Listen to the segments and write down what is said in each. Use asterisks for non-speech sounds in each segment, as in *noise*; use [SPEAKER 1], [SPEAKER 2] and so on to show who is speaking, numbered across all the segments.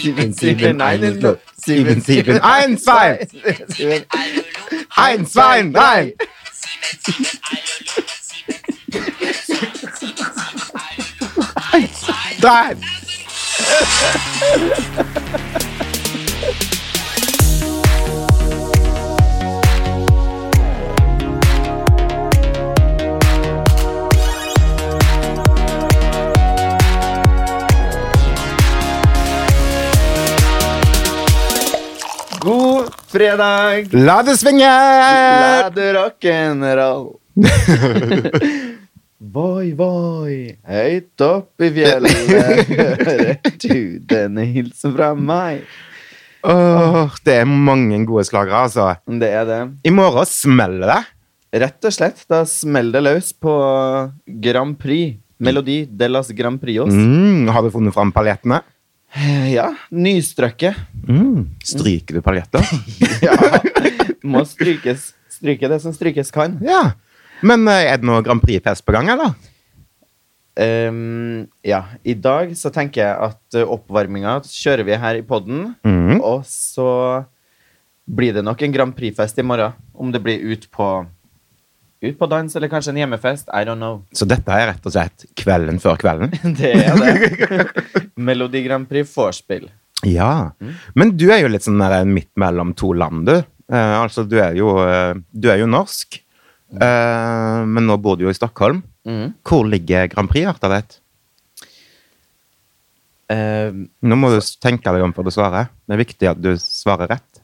[SPEAKER 1] Sieben,
[SPEAKER 2] sieben, eine, null.
[SPEAKER 1] sieben, sieben, ein, zwei,
[SPEAKER 2] Sieben, *laughs*
[SPEAKER 1] ein, zwei, drei. Drei.
[SPEAKER 2] God fredag!
[SPEAKER 1] *laughs* La det svinge!
[SPEAKER 2] La det rock'n'roll. *laughs* Voi, voi, høyt opp i fjellet hører du denne hilsen fra meg.
[SPEAKER 1] Åh, det er mange gode slagere, altså.
[SPEAKER 2] Det er det.
[SPEAKER 1] I morgen smeller det.
[SPEAKER 2] Rett og slett, da smeller det løs på Grand Prix. Melodi de las Grand Prix oss.
[SPEAKER 1] Mm, har du funnet fram paljettene?
[SPEAKER 2] Ja, nystrøkket.
[SPEAKER 1] Mm. Stryker du paljetter?
[SPEAKER 2] Ja, må strykes. Stryke det som strykes kan.
[SPEAKER 1] *laughs* ja. Men eh, er det noe Grand Prix-fest på gang, eller?
[SPEAKER 2] Ehm, ja, i dag så tenker jeg at eh, oppvarminga kjører vi her i podden.
[SPEAKER 1] Mhm.
[SPEAKER 2] Og så blir det nok en Grand Prix-fest i morgen. Om det blir ut på, ut på dans eller kanskje en hjemmefest. I don't know. *laughs*
[SPEAKER 1] Så dette er rett og slett kvelden før kvelden?
[SPEAKER 2] Det er det. Melodi Grand Prix vorspiel.
[SPEAKER 1] Ja. Men du er jo litt sånn der midt mellom to land, du. Eh, altså, du er jo, eh, du er jo norsk, eh, men nå bor du jo i Stockholm.
[SPEAKER 2] Mhm.
[SPEAKER 1] Hvor ligger Grand Prix-hjertet ditt?
[SPEAKER 2] Ehm,
[SPEAKER 1] Nå må du s- tenke deg om før du svarer. Det er viktig at du svarer rett.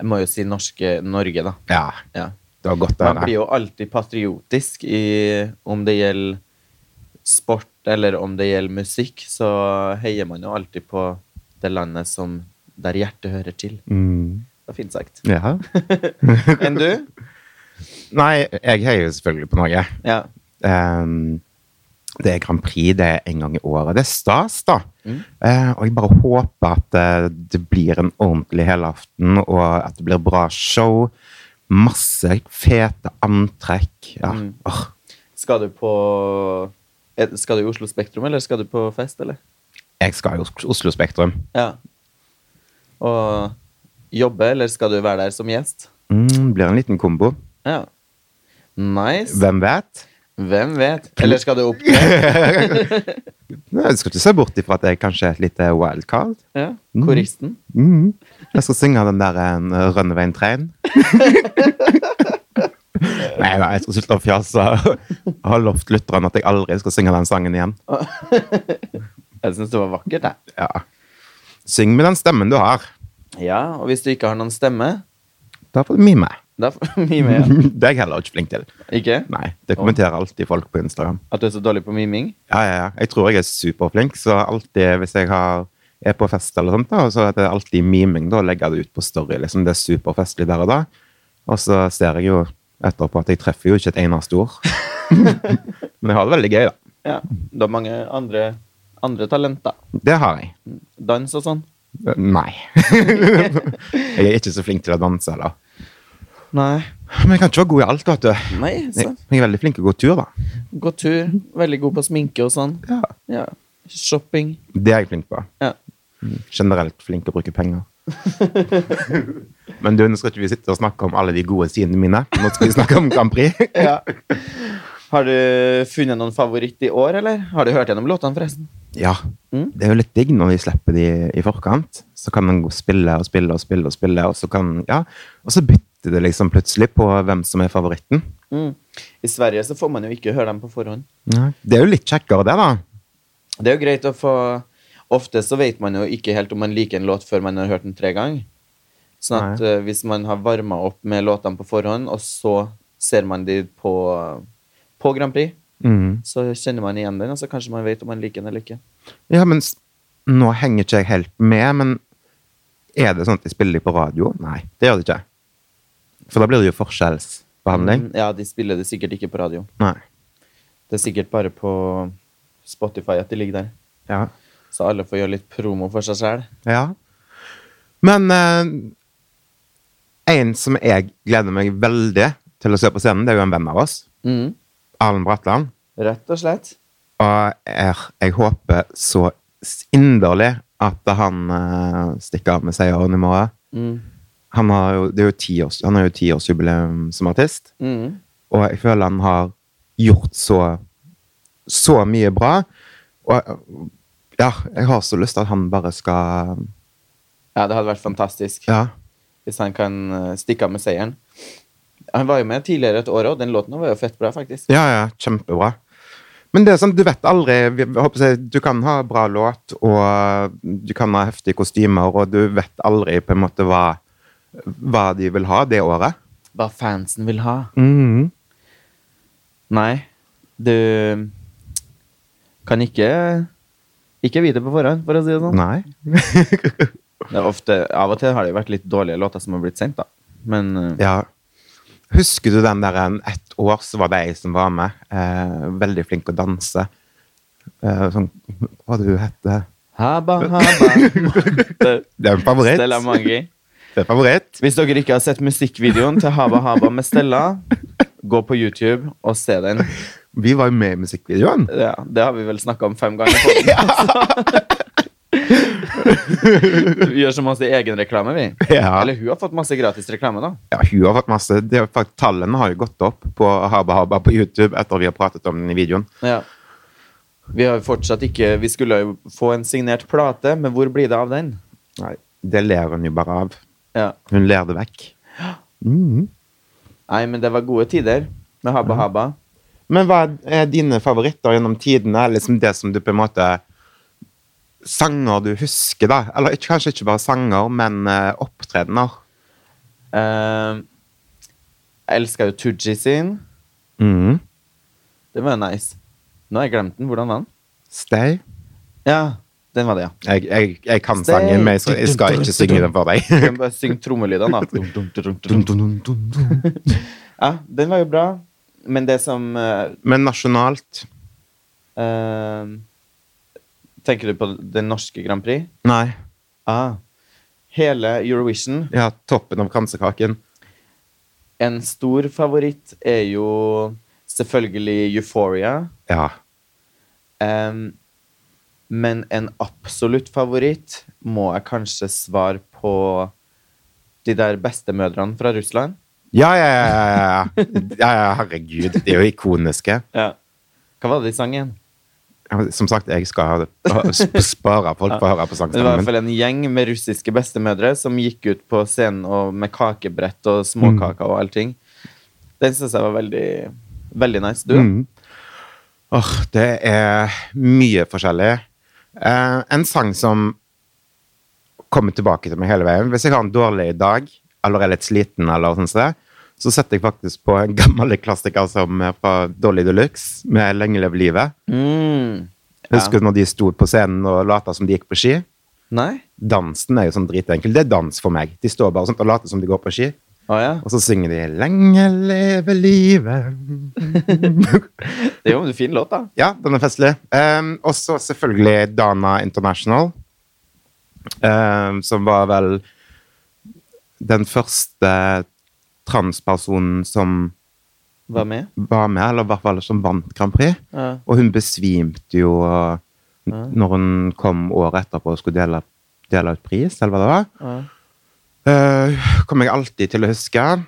[SPEAKER 2] jeg må jo si norske Norge, da.
[SPEAKER 1] Ja,
[SPEAKER 2] Ja.
[SPEAKER 1] det var godt å
[SPEAKER 2] Man blir
[SPEAKER 1] høre.
[SPEAKER 2] jo alltid patriotisk i, om det gjelder sport eller om det gjelder musikk, så heier man jo alltid på det landet som der hjertet hører til.
[SPEAKER 1] Mm.
[SPEAKER 2] Det var fint sagt.
[SPEAKER 1] Ja.
[SPEAKER 2] Enn du?
[SPEAKER 1] *laughs* Nei, jeg heier jo selvfølgelig på Norge.
[SPEAKER 2] Ja.
[SPEAKER 1] Ehm, det er Grand Prix, det er en gang i året. Det er stas, da.
[SPEAKER 2] Mm.
[SPEAKER 1] Eh, og jeg bare håper at eh, det blir en ordentlig helaften, og at det blir bra show. Masse fete antrekk. Ja.
[SPEAKER 2] Mm.
[SPEAKER 1] Åh.
[SPEAKER 2] Skal du på eh, Skal du i Oslo Spektrum, eller skal du på fest, eller?
[SPEAKER 1] Jeg skal jo Oslo Spektrum.
[SPEAKER 2] Ja. Og jobbe, eller skal du være der som gjest?
[SPEAKER 1] Mm, blir en liten kombo.
[SPEAKER 2] Ja. Nice.
[SPEAKER 1] Hvem vet?
[SPEAKER 2] Hvem vet? Eller skal du opptre?
[SPEAKER 1] Nei, Jeg skal ikke se bort ifra at jeg kanskje er et lite wildcard.
[SPEAKER 2] Ja. Koristen.
[SPEAKER 1] Mm. Jeg skal synge den der eh, en Runaway Train. Nei, nei, jeg skal slutte å fjase. Jeg har lovt lytterne at jeg aldri skal synge den sangen igjen.
[SPEAKER 2] Jeg syns det var vakkert, jeg.
[SPEAKER 1] Ja. Syng med den stemmen du har.
[SPEAKER 2] Ja, og hvis du ikke har noen stemme,
[SPEAKER 1] Da får du mime.
[SPEAKER 2] da får *laughs* mime igjen.
[SPEAKER 1] Det er jeg heller ikke flink til.
[SPEAKER 2] Ikke?
[SPEAKER 1] Nei, Det kommenterer alltid folk på Instagram.
[SPEAKER 2] At du er så dårlig på miming?
[SPEAKER 1] Ja, ja, ja. Jeg tror jeg er superflink, så alltid hvis jeg har, er på fest eller sånt, da, så er det alltid miming. Da legger jeg det ut på story. liksom. Det er superfestlig der og da. Og så ser jeg jo etterpå at jeg treffer jo ikke et eneste ord. *laughs* Men jeg har det veldig gøy, da.
[SPEAKER 2] Ja. Du har mange andre, andre talenter.
[SPEAKER 1] Det har jeg.
[SPEAKER 2] Dans og sånn.
[SPEAKER 1] *laughs* Nei. jeg er ikke så flink til å danse, eller.
[SPEAKER 2] Nei.
[SPEAKER 1] Men jeg kan ikke være god i alt, vet du.
[SPEAKER 2] Nei,
[SPEAKER 1] Jeg,
[SPEAKER 2] så.
[SPEAKER 1] jeg er veldig flink til å gå tur, da.
[SPEAKER 2] Gå tur. Veldig god på sminke og sånn.
[SPEAKER 1] Ja.
[SPEAKER 2] Ja. Shopping.
[SPEAKER 1] Det er jeg flink på.
[SPEAKER 2] Ja.
[SPEAKER 1] Generelt flink til å bruke penger. Men du, nå skal ikke vi sitte og snakke om alle de gode sidene mine. Nå skal vi snakke om Grand Prix.
[SPEAKER 2] *laughs* Har du funnet noen favoritt i år, eller? Har du hørt gjennom låtene, forresten?
[SPEAKER 1] Ja,
[SPEAKER 2] Mm.
[SPEAKER 1] det er jo litt digg når de slipper de i forkant. Så kan man gå og spille og spille og spille, og spille, og så kan, ja. Og så bytter det liksom plutselig på hvem som er favoritten.
[SPEAKER 2] Mm. I Sverige så får man jo ikke høre dem på forhånd.
[SPEAKER 1] Det er jo litt kjekkere det, da.
[SPEAKER 2] Det er jo greit å få Ofte så vet man jo ikke helt om man liker en låt før man har hørt den tre ganger. Sånn at eh, hvis man har varma opp med låtene på forhånd, og så ser man de på, på Grand Prix,
[SPEAKER 1] Mm.
[SPEAKER 2] så kjenner man igjen den, og så kanskje man vet om man liker den eller ikke.
[SPEAKER 1] Ja, men s- nå henger ikke jeg helt med, men er det sånn at de spiller de på radio? Nei, det gjør de ikke. For da blir det jo forskjellsbehandling.
[SPEAKER 2] Mm, Ja, de spiller det sikkert ikke på radio.
[SPEAKER 1] Nei.
[SPEAKER 2] Det er sikkert bare på Spotify at de ligger der.
[SPEAKER 1] Ja.
[SPEAKER 2] Så alle får gjøre litt promo for seg sjæl.
[SPEAKER 1] Ja. Men eh, en som jeg gleder meg veldig til å se på scenen, det er jo en venn av oss.
[SPEAKER 2] Mm.
[SPEAKER 1] Arlen Bratland.
[SPEAKER 2] Rett og slett.
[SPEAKER 1] Og jeg, jeg håper så inderlig at han eh, stikker av med seieren i morgen.
[SPEAKER 2] Mm.
[SPEAKER 1] Han har jo, det er jo 10 års- han har jo tiårsjubileum som artist,
[SPEAKER 2] Mm.
[SPEAKER 1] og jeg føler han har gjort så så mye bra. Og jeg- ja, jeg har så lyst til at han bare skal
[SPEAKER 2] Ja, det hadde vært fantastisk
[SPEAKER 1] Ja.
[SPEAKER 2] hvis han kan eh, stikke av med seieren. Han var jo med tidligere et år òg. Den låten var jo fett bra, faktisk.
[SPEAKER 1] Ja, ja, kjempebra. Men det er sånn, du vet aldri vi- jeg håper å si, Du kan ha bra låt, og du kan ha heftige kostymer, og du vet aldri på en måte hva, hva de vil ha det året.
[SPEAKER 2] Hva fansen vil ha.
[SPEAKER 1] Mhm.
[SPEAKER 2] Nei, du kan ikke ikke vite på forhånd, for å si det sånn.
[SPEAKER 1] *laughs* Nei.
[SPEAKER 2] Det er ofte, av og til har det jo vært litt dårlige låter som har blitt sendt, da. Men eh,
[SPEAKER 1] Ja. Husker du den der en ett år så var det ei som var med? Eh, veldig flink å danse. Eh, sånn, hva du heter
[SPEAKER 2] Haba, haba.
[SPEAKER 1] Det er en favoritt.
[SPEAKER 2] Stella Mangi.
[SPEAKER 1] Det er en favoritt.
[SPEAKER 2] Hvis dere ikke har sett musikkvideoen til Haba Haba med Stella, gå på YouTube og se den.
[SPEAKER 1] Vi var jo med i musikkvideoen.
[SPEAKER 2] Ja, det har vi vel snakka om fem ganger. På den, altså. vi gjør så masse egenreklame, vi.
[SPEAKER 1] Ja.
[SPEAKER 2] Eller hun har fått masse gratis reklame, da.
[SPEAKER 1] Ja, hun har fått masse. Det, er fakt- tallene har jo gått opp på Haba Haba på YouTube etter vi har pratet om den i videoen.
[SPEAKER 2] Ja. Vi har jo fortsatt ikke Vi skulle jo få en signert plate, men hvor blir det av den?
[SPEAKER 1] Nei, det ler hun jo bare av.
[SPEAKER 2] Ja.
[SPEAKER 1] Hun ler det vekk. Mhm.
[SPEAKER 2] Nei, men det var gode tider med Habba Habba.
[SPEAKER 1] Men hva er dine favoritter gjennom tidene? Liksom det som du på en måte Sanger du husker, da? Eller ikke, kanskje ikke bare sanger, men eh, opptredener.
[SPEAKER 2] Eh, jeg elska jo Tooji sin.
[SPEAKER 1] Mhm.
[SPEAKER 2] Det var jo nice. Nå har jeg glemt den. Hvordan var den?
[SPEAKER 1] Stay.
[SPEAKER 2] Ja, den var det, ja.
[SPEAKER 1] Jeg, jeg, jeg kan
[SPEAKER 2] Stay.
[SPEAKER 1] sangen, men jeg skal, jeg skal ikke synge den for
[SPEAKER 2] Du
[SPEAKER 1] *laughs* deg.
[SPEAKER 2] kan bare synge trommelydene, da. Dum, dum, dum, dum, dum. Ja, den var jo bra. Men det som eh,
[SPEAKER 1] Men nasjonalt
[SPEAKER 2] eh, Tenker du på den norske Grand Prix?
[SPEAKER 1] Nei.
[SPEAKER 2] Ah. Hele Eurovision
[SPEAKER 1] Ja, toppen av kransekaken.
[SPEAKER 2] En stor favoritt er jo selvfølgelig Euphoria.
[SPEAKER 1] Ja.
[SPEAKER 2] Em, men en absolutt favoritt må jeg kanskje svare på de der bestemødrene fra Russland.
[SPEAKER 1] Ja, ja, ja, ja, ja. ja, ja herregud. De er jo ikoniske.
[SPEAKER 2] Hva var det de sang igjen?
[SPEAKER 1] Som sagt, jeg skal sp- spare folk for å høre
[SPEAKER 2] Det var
[SPEAKER 1] på
[SPEAKER 2] i
[SPEAKER 1] sangstemmen
[SPEAKER 2] hvert
[SPEAKER 1] min.
[SPEAKER 2] fall en gjeng med russiske bestemødre som gikk ut på scenen og med kakebrett og
[SPEAKER 1] Mm.
[SPEAKER 2] småkaker og allting. Den syns jeg var veldig, veldig nice. Du, da?
[SPEAKER 1] Mm. Åh, det er mye forskjellig. Eh, en sang som kommer tilbake til meg hele veien. Hvis jeg har en dårlig dag, eller er litt sliten, eller sånn som det, så setter jeg faktisk på en gammel klassiker som er fra Dolly Deluxe, med 'Lenge lev livet'.
[SPEAKER 2] Mm.
[SPEAKER 1] Husker du når de sto på scenen og lata som de gikk på ski?
[SPEAKER 2] Nei?
[SPEAKER 1] Dansen er jo sånn dritenkel. Det er dans for meg. De står bare sånn og later som de går på ski,
[SPEAKER 2] Å ja.
[SPEAKER 1] og så synger de 'Lenge leve livet'.
[SPEAKER 2] Det er jo en fin låt, da.
[SPEAKER 1] ja, den er festlig. Um, og så selvfølgelig Dana International, um, som var vel den første transpersonen som
[SPEAKER 2] Var med.
[SPEAKER 1] var med, eller i hvert fall som vant Grand Prix.
[SPEAKER 2] Ja.
[SPEAKER 1] Og hun besvimte jo uh, når hun kom året etterpå og skulle dele, dele ut pris, eller hva det var.
[SPEAKER 2] Ja.
[SPEAKER 1] Eh, kommer jeg alltid til å huske.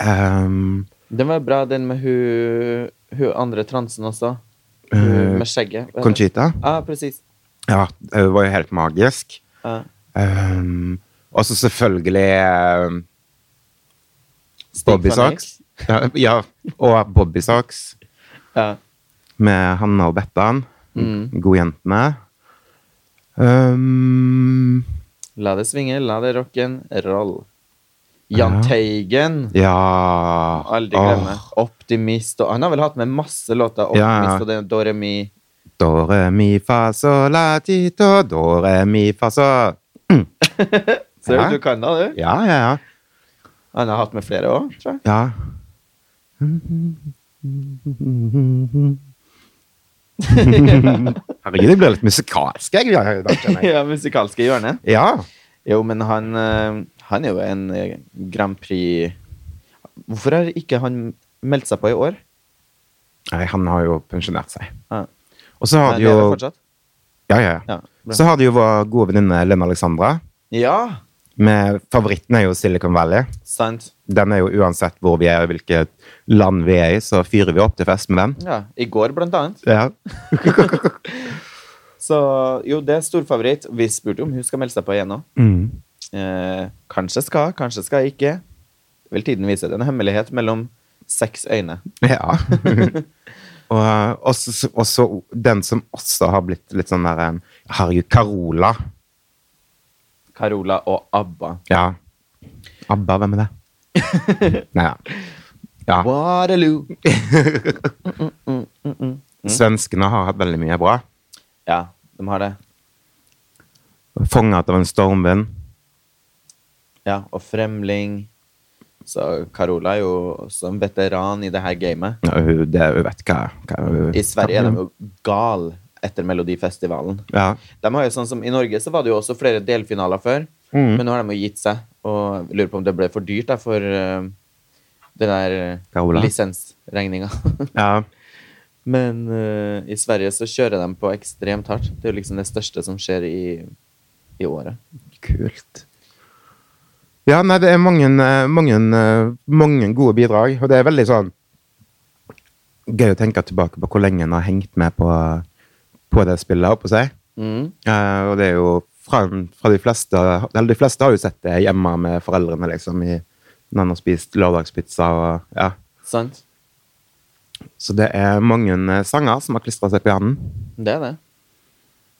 [SPEAKER 1] Ehm,
[SPEAKER 2] Den var bra, den med hun, hun andre transen også. Hun
[SPEAKER 1] Eh,
[SPEAKER 2] med skjegget. Hva heter Ah, det?
[SPEAKER 1] Conchita.
[SPEAKER 2] Ja, presis.
[SPEAKER 1] Ja, det var jo helt magisk.
[SPEAKER 2] Ja.
[SPEAKER 1] Ehm, og så selvfølgelig ehm,
[SPEAKER 2] Stig
[SPEAKER 1] Bobby
[SPEAKER 2] van
[SPEAKER 1] Socks. Ja, ja, og Bobby Socks
[SPEAKER 2] Eyck. Ja.
[SPEAKER 1] med Hanna og Bettan.
[SPEAKER 2] Mm.
[SPEAKER 1] Godjentene. Ehm,
[SPEAKER 2] La det svinge, la det rocken, roll. Jahn
[SPEAKER 1] Ja.
[SPEAKER 2] Teigen.
[SPEAKER 1] ja
[SPEAKER 2] Aldri glemme. Optimist. Og han har vel hatt med masse låter.
[SPEAKER 1] Ja, ja.
[SPEAKER 2] Optimist og det er Doremi.
[SPEAKER 1] Do re mi fa so la ti do do re mi fa so.
[SPEAKER 2] Ser du,
[SPEAKER 1] Ja.
[SPEAKER 2] du kan da, du.
[SPEAKER 1] Ja, ja, ja.
[SPEAKER 2] Han har hatt med flere òg, tror jeg.
[SPEAKER 1] Ja. *laughs* Herregud, jeg blir litt musikalsk, jeg. i dag, kjenner
[SPEAKER 2] *laughs*
[SPEAKER 1] jeg.
[SPEAKER 2] ja, musikalske hjørnet.
[SPEAKER 1] *laughs* Ja.
[SPEAKER 2] Jo, men han, eh, han er jo en eh, Grand Prix Hvorfor har ikke han meldt seg på i år?
[SPEAKER 1] Nei, han har jo pensjonert seg.
[SPEAKER 2] Ja.
[SPEAKER 1] Og så har
[SPEAKER 2] Han
[SPEAKER 1] de jo
[SPEAKER 2] lever fortsatt.
[SPEAKER 1] Ja, ja, ja.
[SPEAKER 2] Ja, bra.
[SPEAKER 1] Så har du jo vår gode venninne Linn Alexandra.
[SPEAKER 2] ja
[SPEAKER 1] Med favoritten er jo Silicon Valley.
[SPEAKER 2] sant.
[SPEAKER 1] Den er jo uansett hvor vi er og hvilket land vi er i, så fyrer vi opp til fest med den.
[SPEAKER 2] Ja, I går, blant annet.
[SPEAKER 1] Ja.
[SPEAKER 2] Så jo, det er storfavoritt. Vi spurte jo om hun skal melde seg på igjen nå.
[SPEAKER 1] Mm.
[SPEAKER 2] Eh, kanskje skal, kanskje skal ikke. Vil tiden vise. Det er en hemmelighet mellom seks øyne.
[SPEAKER 1] Ja.
[SPEAKER 2] *laughs*
[SPEAKER 1] og, og så- og så den som også har blitt litt sånn der en- Herregud, Carola.
[SPEAKER 2] Carola og ABBA.
[SPEAKER 1] Ja. ABBA, hvem er det?
[SPEAKER 2] *laughs*
[SPEAKER 1] Nei, ja. ja.
[SPEAKER 2] Waterloo. Mm.
[SPEAKER 1] Svenskene har hatt veldig mye bra.
[SPEAKER 2] Ja, de har det.
[SPEAKER 1] Fanget av en stormvind.
[SPEAKER 2] Ja, og Fremling. Så Carola er jo også en veteran i det her gamet.
[SPEAKER 1] Ja, hun- det, hun vet hva, hva hun-
[SPEAKER 2] I Sverige er de jo gal etter Melodifestivalen.
[SPEAKER 1] Ja.
[SPEAKER 2] De har jo sånn som I Norge så var det jo også flere delfinaler før,
[SPEAKER 1] Mm.
[SPEAKER 2] men nå har de jo gitt seg. Og jeg lurer på om det ble for dyrt da, for uh, den der
[SPEAKER 1] Carola.
[SPEAKER 2] uh, lisensregninga.
[SPEAKER 1] ja.
[SPEAKER 2] *laughs* men eh, i Sverige så kjører de på ekstremt hardt. Det er jo liksom det største som skjer i, i året.
[SPEAKER 1] Kult. Ja, nei, det er mange, eh, mange, eh, mange gode bidrag, og det er veldig sånn Gøy å tenke tilbake på hvor lenge en har hengt med på, på det spillet, holdt på å si.
[SPEAKER 2] Mm.
[SPEAKER 1] Eh, og det er jo fra, fra de fleste Eller de fleste har jo sett det hjemme med foreldrene, liksom, i, når en har spist lørdagspizza og Ja.
[SPEAKER 2] Sant?
[SPEAKER 1] Så det er mange eh, sanger som har klistra seg på hjernen.
[SPEAKER 2] Det er det.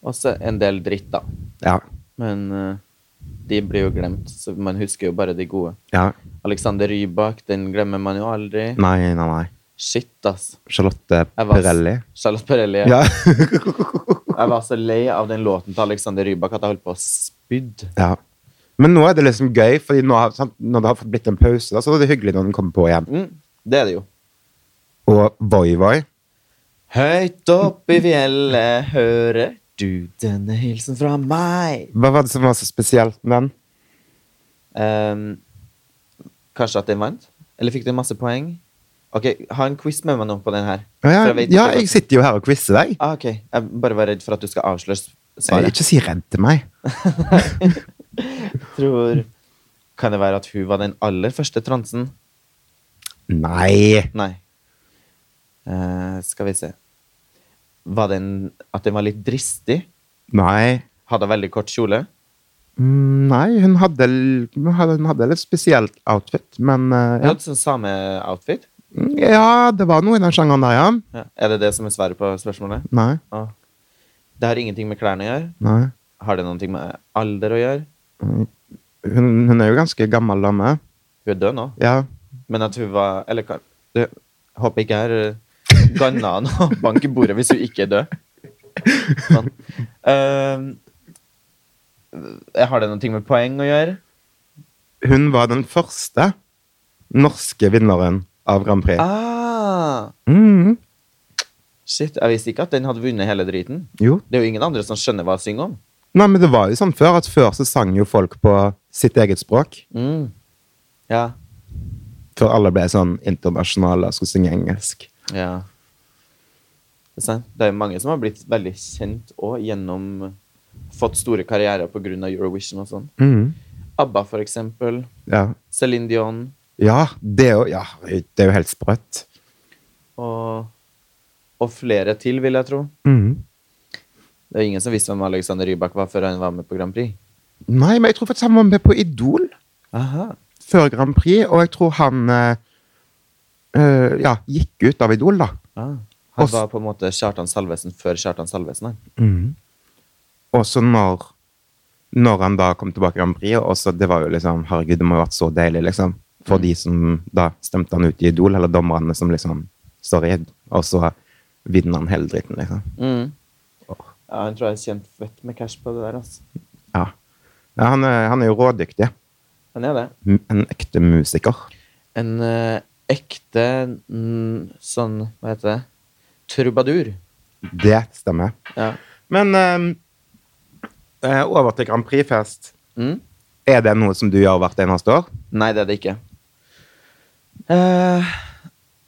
[SPEAKER 2] Og så en del dritt, da.
[SPEAKER 1] Ja.
[SPEAKER 2] Men eh, de blir jo glemt, så man husker jo bare de gode.
[SPEAKER 1] Ja.
[SPEAKER 2] Alexander Rybak, den glemmer man jo aldri.
[SPEAKER 1] Nei, nei, nei.
[SPEAKER 2] Shit, ass.
[SPEAKER 1] Charlotte
[SPEAKER 2] Jeg var-
[SPEAKER 1] Pirelli.
[SPEAKER 2] Charlotte Pirelli.
[SPEAKER 1] Ja.
[SPEAKER 2] *laughs*
[SPEAKER 1] *laughs*
[SPEAKER 2] Jeg var så lei av den låten til Alexander Rybak at jeg holdt på å spydde.
[SPEAKER 1] Ja. Men nå er det liksom gøy, fordi nå har, sant, når det har fått blitt en pause, da, så er det hyggelig når den kommer på igjen.
[SPEAKER 2] Mm, det er det jo.
[SPEAKER 1] Og Voi Voi
[SPEAKER 2] Høyt opp i fjellet hører du denne hilsen fra meg.
[SPEAKER 1] Hva var det som var så spesielt med den?
[SPEAKER 2] Ehm, kanskje at den vant? Eller fikk den masse poeng? Ok, Ha en quiz med meg nå på den her.
[SPEAKER 1] Ja,
[SPEAKER 2] For
[SPEAKER 1] ja,
[SPEAKER 2] jeg vet ikke
[SPEAKER 1] ja,
[SPEAKER 2] hva-
[SPEAKER 1] jeg sitter jo her og quizer deg.
[SPEAKER 2] ah, ok. Jeg bare var redd for at du skal avsløre
[SPEAKER 1] Eh,
[SPEAKER 2] svaret.
[SPEAKER 1] Ikke si redd til meg.
[SPEAKER 2] Tror Kan det være at hun var den aller første transen?
[SPEAKER 1] Nei.
[SPEAKER 2] Nei. Eh, skal vi se Var den At den var litt dristig?
[SPEAKER 1] Nei.
[SPEAKER 2] Hadde veldig kort kjole?
[SPEAKER 1] Mm, Nei, hun hadde, l- hun hadde, hun hadde litt spesielt outfit, men eh,
[SPEAKER 2] Hun hadde sånn samme outfit.
[SPEAKER 1] ja. ja, det var noe i den sjangeren der, ja.
[SPEAKER 2] Ja. Er det det som er svaret på spørsmålet?
[SPEAKER 1] Nei.
[SPEAKER 2] Ah. Det har ingenting med klærne å gjøre.
[SPEAKER 1] nei.
[SPEAKER 2] Har det noe med alder å gjøre?
[SPEAKER 1] Hun, hun er jo ganske gammel dame.
[SPEAKER 2] Hun er død nå.
[SPEAKER 1] Ja.
[SPEAKER 2] Men at hun var Eller kan det, Håper ikke jeg har eh, ganna nå. *laughs* Bank i bordet hvis hun ikke er død. Sånn. Eh, har det noe med poeng å gjøre?
[SPEAKER 1] Hun var den første norske vinneren av Grand Prix.
[SPEAKER 2] Ah,
[SPEAKER 1] Mm.
[SPEAKER 2] shit, jeg visste ikke at den hadde vunnet hele driten.
[SPEAKER 1] Jo.
[SPEAKER 2] Det er jo ingen andre som skjønner hva hun synger om.
[SPEAKER 1] Nei, men det var jo sånn før at før så sang jo folk på sitt eget språk.
[SPEAKER 2] Mm. Ja.
[SPEAKER 1] Før alle ble sånn internasjonale og skulle synge engelsk.
[SPEAKER 2] ja. Det er sant. Det er mange som har blitt veldig kjent og gjennom Fått store karrierer pga. Eurovision og sånn. ABBA, for eksempel.
[SPEAKER 1] Ja.
[SPEAKER 2] Céline Dion.
[SPEAKER 1] Ja, det er jo, ja, det er jo helt sprøtt.
[SPEAKER 2] Og, og flere til, vil jeg tro. Det er ingen som visste hvem Alexander Rybak var før han var med på Grand Prix.
[SPEAKER 1] Nei, men jeg tror faktisk han var med på Idol
[SPEAKER 2] Aha.
[SPEAKER 1] før Grand Prix, og jeg tror han eh, eh, ja, gikk ut av Idol, da.
[SPEAKER 2] Ah. Han
[SPEAKER 1] Og s-
[SPEAKER 2] var på en måte Kjartan Salvesen før Kjartan Salvesen. han.
[SPEAKER 1] Og så når, når han da kom tilbake i Grand Prix, og så det var jo liksom Herregud, det må ha vært så deilig, liksom. For de som da stemte han ut i Idol, eller dommerne som liksom Sorry. Og så vinner han hele dritten, liksom.
[SPEAKER 2] Mm. Ja, han tror jeg er kjent fett med cash på det der. Altså.
[SPEAKER 1] Ja. ja han, er, han er jo rådyktig.
[SPEAKER 2] Han er det.
[SPEAKER 1] M- En ekte musiker.
[SPEAKER 2] En eh, ekte mm, sånn Hva heter det? Trubadur.
[SPEAKER 1] Det stemmer.
[SPEAKER 2] Ja.
[SPEAKER 1] Men eh, eh, over til Grand Prix-fest.
[SPEAKER 2] Mm.
[SPEAKER 1] Er det noe som du gjør hvert eneste år?
[SPEAKER 2] Nei, det er det ikke. Eh,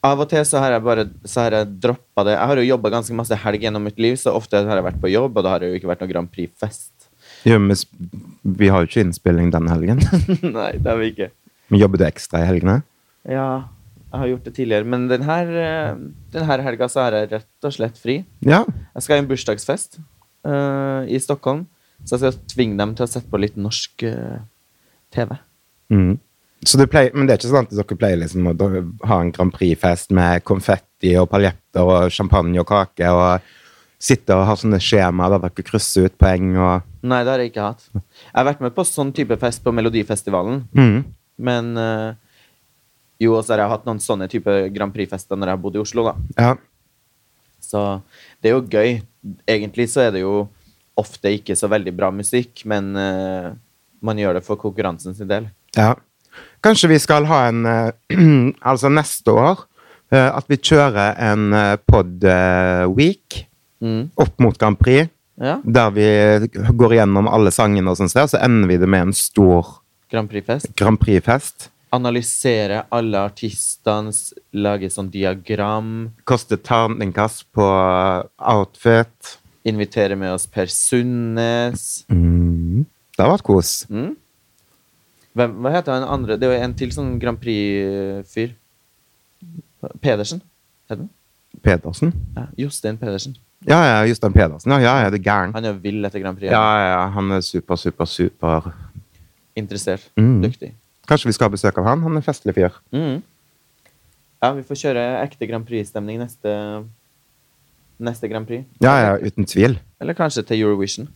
[SPEAKER 2] Av og til så har jeg bare så har jeg droppa det. Jeg har jo jobba ganske masse helg gjennom mitt liv, så ofte har jeg vært på jobb, og da har det jo ikke vært noe Grand Prix-fest. *laughs*
[SPEAKER 1] Jo, men s- vi har jo ikke innspilling denne helgen. *laughs*
[SPEAKER 2] Nei, det har vi ikke.
[SPEAKER 1] Men jobber du ekstra i helgene?
[SPEAKER 2] Ja, jeg har gjort det tidligere, men den her, eh, den her helga så har jeg rett og slett fri.
[SPEAKER 1] Ja.
[SPEAKER 2] Jeg skal i en bursdagsfest eh, i Stockholm, så jeg skal tvinge dem til å sette på litt norsk eh, TV.
[SPEAKER 1] Mm. Så du pleier, men det er ikke sånn at dere pleier liksom å da- ha en Grand Prix-fest med konfetti og paljetter og champagne og kake og sitte og ha sånne skjemaer der dere krysser ut poeng og
[SPEAKER 2] Nei, det har jeg ikke hatt. Jeg har vært med på sånn type fest på Melodifestivalen,
[SPEAKER 1] mm.
[SPEAKER 2] men eh, jo, og så har jeg hatt noen sånne type Grand Prix-fester når jeg har bodd i Oslo, da.
[SPEAKER 1] Ja.
[SPEAKER 2] Så det er jo gøy. Egentlig så er det jo ofte ikke så veldig bra musikk, men eh, man gjør det for konkurransen sin del.
[SPEAKER 1] Ja. Kanskje vi skal ha en eh, *clears throat* Altså neste år eh, at vi kjører en eh, pod eh, week
[SPEAKER 2] Mm.
[SPEAKER 1] opp mot Grand Prix,
[SPEAKER 2] Ja.
[SPEAKER 1] der vi går gjennom alle sangene og sånn, så ender vi det med en stor
[SPEAKER 2] Grand Prix-fest.
[SPEAKER 1] Grand Prix-fest.
[SPEAKER 2] Analysere alle artistene, s- lage sånn diagram.
[SPEAKER 1] Koste terningkast på eh, outfit.
[SPEAKER 2] Invitere med oss Per Sundnes.
[SPEAKER 1] Mm. Det har vært kos.
[SPEAKER 2] Mm. Hvem, hva heter han andre? Det er jo en til sånn Grand Prix-fyr. Pedersen, heter han?
[SPEAKER 1] Pedersen?
[SPEAKER 2] Ja, Jostein Pedersen.
[SPEAKER 1] Ja, ja, Jostein Pedersen. Ja, ja, ja, det er gæren.
[SPEAKER 2] Han er jo vill etter Grand Prix.
[SPEAKER 1] Ja, ja, han er super, super, super
[SPEAKER 2] Interessert.
[SPEAKER 1] Mm.
[SPEAKER 2] Dyktig.
[SPEAKER 1] Kanskje vi skal ha besøk av han? Han er en festlig fyr.
[SPEAKER 2] Mm. Ja, vi får kjøre ekte Grand Prix-stemning neste, neste Grand Prix.
[SPEAKER 1] Ja, ja, uten tvil.
[SPEAKER 2] Eller kanskje til Eurovision.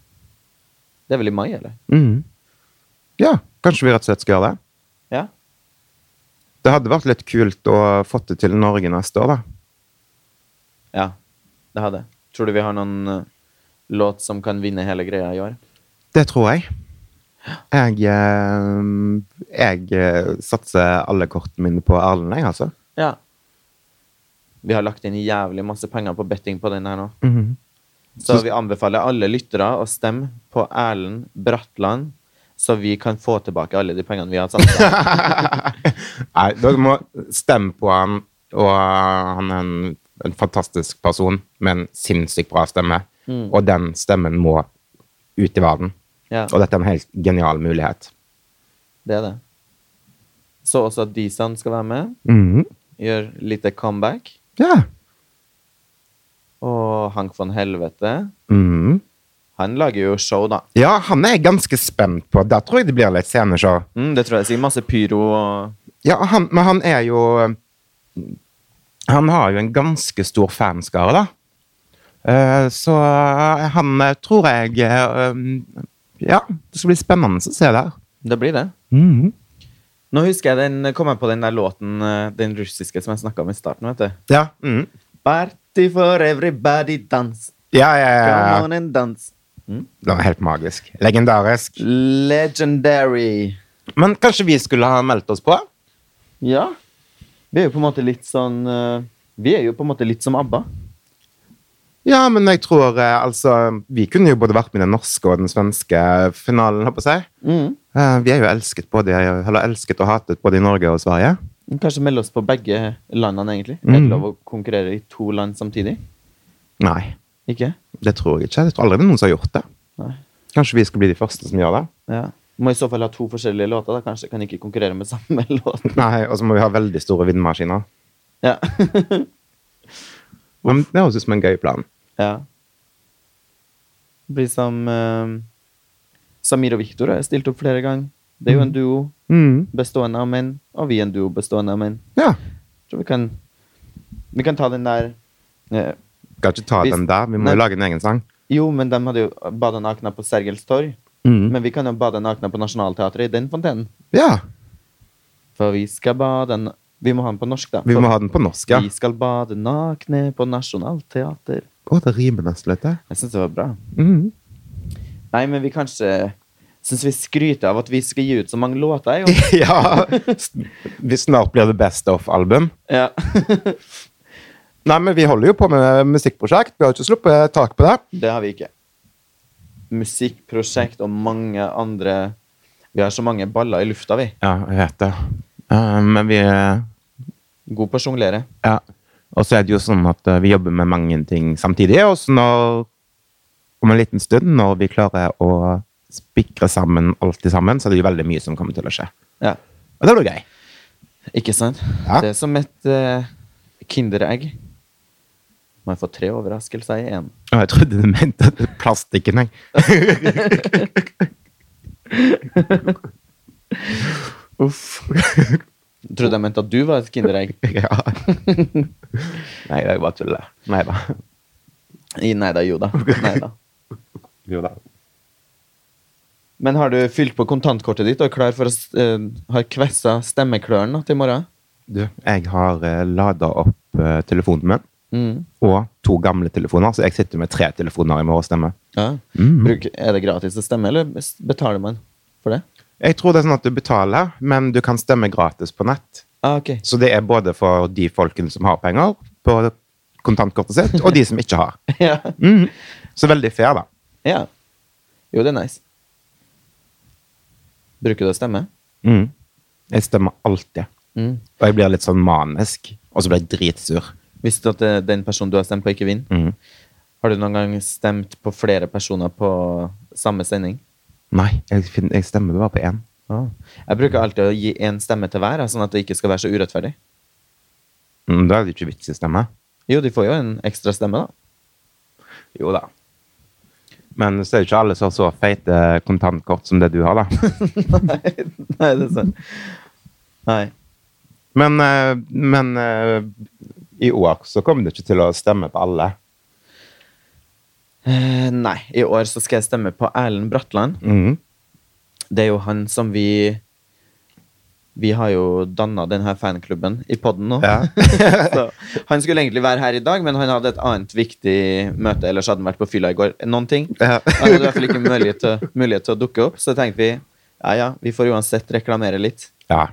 [SPEAKER 2] Det er vel i mai, eller?
[SPEAKER 1] Mm. Ja, kanskje vi rett og slett skal gjøre det.
[SPEAKER 2] Ja.
[SPEAKER 1] Det hadde vært litt kult å få det til i Norge neste år, da.
[SPEAKER 2] ja det hadde jeg. Tror du vi har noen eh, låt som kan vinne hele greia i år?
[SPEAKER 1] Det tror jeg. Jeg, eh, jeg eh, satser alle kortene mine på Erlend, jeg, altså.
[SPEAKER 2] Ja. Vi har lagt inn jævlig masse penger på betting på den her nå.
[SPEAKER 1] Mhm.
[SPEAKER 2] Så
[SPEAKER 1] Så-
[SPEAKER 2] vi anbefaler alle lyttere å stemme på Erlend Bratland, så vi kan få tilbake alle de pengene vi har
[SPEAKER 1] *laughs*
[SPEAKER 2] satsa.
[SPEAKER 1] Nei, dere må stemme på han, og han er en, en fantastisk person med en sinnssykt bra stemme. Og den stemmen må ut i verden.
[SPEAKER 2] Ja.
[SPEAKER 1] Og dette er en helt genial mulighet.
[SPEAKER 2] Det er det. Så også at Disan skal være med. Gjør lite comeback.
[SPEAKER 1] Ja.
[SPEAKER 2] Og Hank von Helvete
[SPEAKER 1] Mhm.
[SPEAKER 2] Han lager jo show, da.
[SPEAKER 1] Ja, han er jeg ganske spent på. Der tror jeg det blir litt sceneshow.
[SPEAKER 2] Mm, det tror jeg sier. Masse pyro og
[SPEAKER 1] Ja, han, men han er jo Han har jo en ganske stor fanskare, da. Eh, så han eh, tror jeg eh, Ja, det skal bli spennende å se der.
[SPEAKER 2] Det blir det. Nå husker jeg den, kom jeg på den der låten, eh, den russiske som jeg snakka om i starten. vet du.
[SPEAKER 1] Ja. mhm.
[SPEAKER 2] Party for everybody dance.
[SPEAKER 1] Ja, ja,
[SPEAKER 2] Come
[SPEAKER 1] ja, ja.
[SPEAKER 2] on and dance.
[SPEAKER 1] Det var helt magisk. Legendarisk.
[SPEAKER 2] Legendary.
[SPEAKER 1] Men kanskje vi skulle ha meldt oss på?
[SPEAKER 2] Ja. Vi er jo på en måte litt sånn eh, Vi er jo på en måte litt som ABBA.
[SPEAKER 1] Ja, men jeg tror eh, altså Vi kunne jo både vært med i den norske og den svenske finalen, holdt på å si.
[SPEAKER 2] Mm.
[SPEAKER 1] Eh, vi er jo elsket både, eller elsket og hatet både i Norge og Sverige.
[SPEAKER 2] Kanskje melde oss på begge landene, egentlig. Er det lov å konkurrere i to land samtidig?
[SPEAKER 1] Nei.
[SPEAKER 2] Ikke?
[SPEAKER 1] Det tror jeg ikke. Jeg tror aldri det er noen som har gjort det.
[SPEAKER 2] Nei.
[SPEAKER 1] Kanskje vi skal bli de første som gjør det?
[SPEAKER 2] Ja. Må i så fall ha to forskjellige låter, da. Kanskje kan ikke konkurrere med *laughs* samme låt.
[SPEAKER 1] Nei, og så må vi ha veldig store vindmaskiner.
[SPEAKER 2] Ja. *laughs*
[SPEAKER 1] Men det høres ut som en gøy plan.
[SPEAKER 2] ja. Blir som eh, Samir og Viktor har stilt opp flere ganger. Det er jo en duo
[SPEAKER 1] Mm.
[SPEAKER 2] bestående av menn, og vi er en duo bestående av menn.
[SPEAKER 1] Ja.
[SPEAKER 2] Tror vi kan Vi kan ta den der eh,
[SPEAKER 1] Skal ikke ta
[SPEAKER 2] Hvis-
[SPEAKER 1] den der. Vi må
[SPEAKER 2] Nei.
[SPEAKER 1] jo lage en egen sang.
[SPEAKER 2] Jo, men de hadde jo bada nakne på Sergels torg.
[SPEAKER 1] Mm.
[SPEAKER 2] Men vi kan jo bade nakne på Nationaltheatret, i den fontenen.
[SPEAKER 1] Ja.
[SPEAKER 2] For vi skal bade na- Vi må ha den på norsk, da.
[SPEAKER 1] Vi
[SPEAKER 2] For
[SPEAKER 1] må ha den på norsk, ja.
[SPEAKER 2] Vi skal bade nakne på Nationaltheater.
[SPEAKER 1] Å, det rimer nesten litt, det.
[SPEAKER 2] Jeg syns det var bra.
[SPEAKER 1] Mhm.
[SPEAKER 2] Nei, men vi kanskje syns vi skryter av at vi skal gi ut så mange låter.
[SPEAKER 1] *laughs*
[SPEAKER 2] Jo.
[SPEAKER 1] *laughs* ja. s- Vi snart blir det best of-album.
[SPEAKER 2] Ja. *laughs*
[SPEAKER 1] Nei, men vi holder jo på med musikkprosjekt. Vi har jo ikke sluppet tak på det.
[SPEAKER 2] Det har vi ikke. Musikkprosjekt og mange andre Vi har så mange baller i lufta, vi.
[SPEAKER 1] Ja, jeg vet det. Eh, men vi eh,
[SPEAKER 2] God på å sjonglere.
[SPEAKER 1] Ja. Og så er det jo sånn at eh, vi jobber med mange ting samtidig. Og så når, om en liten stund, når vi klarer å spikre sammen alt til sammen, så er det jo veldig mye som kommer til å skje.
[SPEAKER 2] Ja.
[SPEAKER 1] Og det blir gøy.
[SPEAKER 2] Ikke sant?
[SPEAKER 1] Ja.
[SPEAKER 2] Det er som et eh, kinderegg. Man får tre overraskelser i én.
[SPEAKER 1] Og jeg trodde du mente at plastikken, jeg. Uff.
[SPEAKER 2] Trodde jeg mente at du var et kinderegg.
[SPEAKER 1] ja. Nei, det er bare tull. Nei da.
[SPEAKER 2] I- Nei da, jo da. Nei da.
[SPEAKER 1] Jo da.
[SPEAKER 2] Men har du fylt på kontantkortet ditt og er klar for å s- eh, har kvessa stemmeklørne til i morgen?
[SPEAKER 1] Du, jeg har uh, lada opp eh, telefonen min,
[SPEAKER 2] Mm.
[SPEAKER 1] og to gamle telefoner, så jeg sitter med tre telefoner i morgen og stemmer.
[SPEAKER 2] Ja.
[SPEAKER 1] Mhm.
[SPEAKER 2] Bruk, er det gratis å stemme, eller s- betaler man for det?
[SPEAKER 1] Jeg tror det er sånn at du betaler, men du kan stemme gratis på nett.
[SPEAKER 2] Ah, ok. *laughs*
[SPEAKER 1] Så det er både for de folkene som har penger på kontantkortet sitt, og de som ikke *laughs* har.
[SPEAKER 2] ja.
[SPEAKER 1] Mhm. Så veldig fair, da.
[SPEAKER 2] ja. Jo, det er nice. Bruker du å stemme?
[SPEAKER 1] Mhm. Jeg stemmer alltid.
[SPEAKER 2] Mm.
[SPEAKER 1] Og jeg blir litt sånn manisk, og så blir jeg dritsur.
[SPEAKER 2] Visste du at eh, den personen du har stemt på, ikke vinner?
[SPEAKER 1] Mhm.
[SPEAKER 2] Har du noen gang stemt på flere personer på samme sending?
[SPEAKER 1] Nei, jeg, fin- jeg stemmer bare på én.
[SPEAKER 2] Jeg bruker alltid å gi én stemme til hver, sånn at det ikke skal være så urettferdig.
[SPEAKER 1] Mm, da er det ikke vits i å stemme.
[SPEAKER 2] Jo, de får jo en ekstra stemme, da. *laughs*
[SPEAKER 1] Jo da. Men så er det ikke alle som har så feite kontantkort som det du har, *laughs* da.
[SPEAKER 2] Nei, nei, det er sant. Nei.
[SPEAKER 1] Men, eh, men eh, i år så kommer du ikke til å stemme på alle.
[SPEAKER 2] Eh, nei. I år så skal jeg stemme på Erlend Bratland.
[SPEAKER 1] Mhm.
[SPEAKER 2] Det er jo han som vi Vi har jo danna denne fanklubben i poden nå.
[SPEAKER 1] *laughs* Ja.
[SPEAKER 2] *laughs* så, han skulle egentlig være her i dag, men han hadde et annet viktig møte. Ellers hadde han vært på fylla i går. Noen ting.
[SPEAKER 1] Ja.
[SPEAKER 2] Han hadde i hvert fall ikke mulighet til, mulighet til å dukke opp, så tenkte vi ja, ja, vi får uansett reklamere litt.
[SPEAKER 1] ja.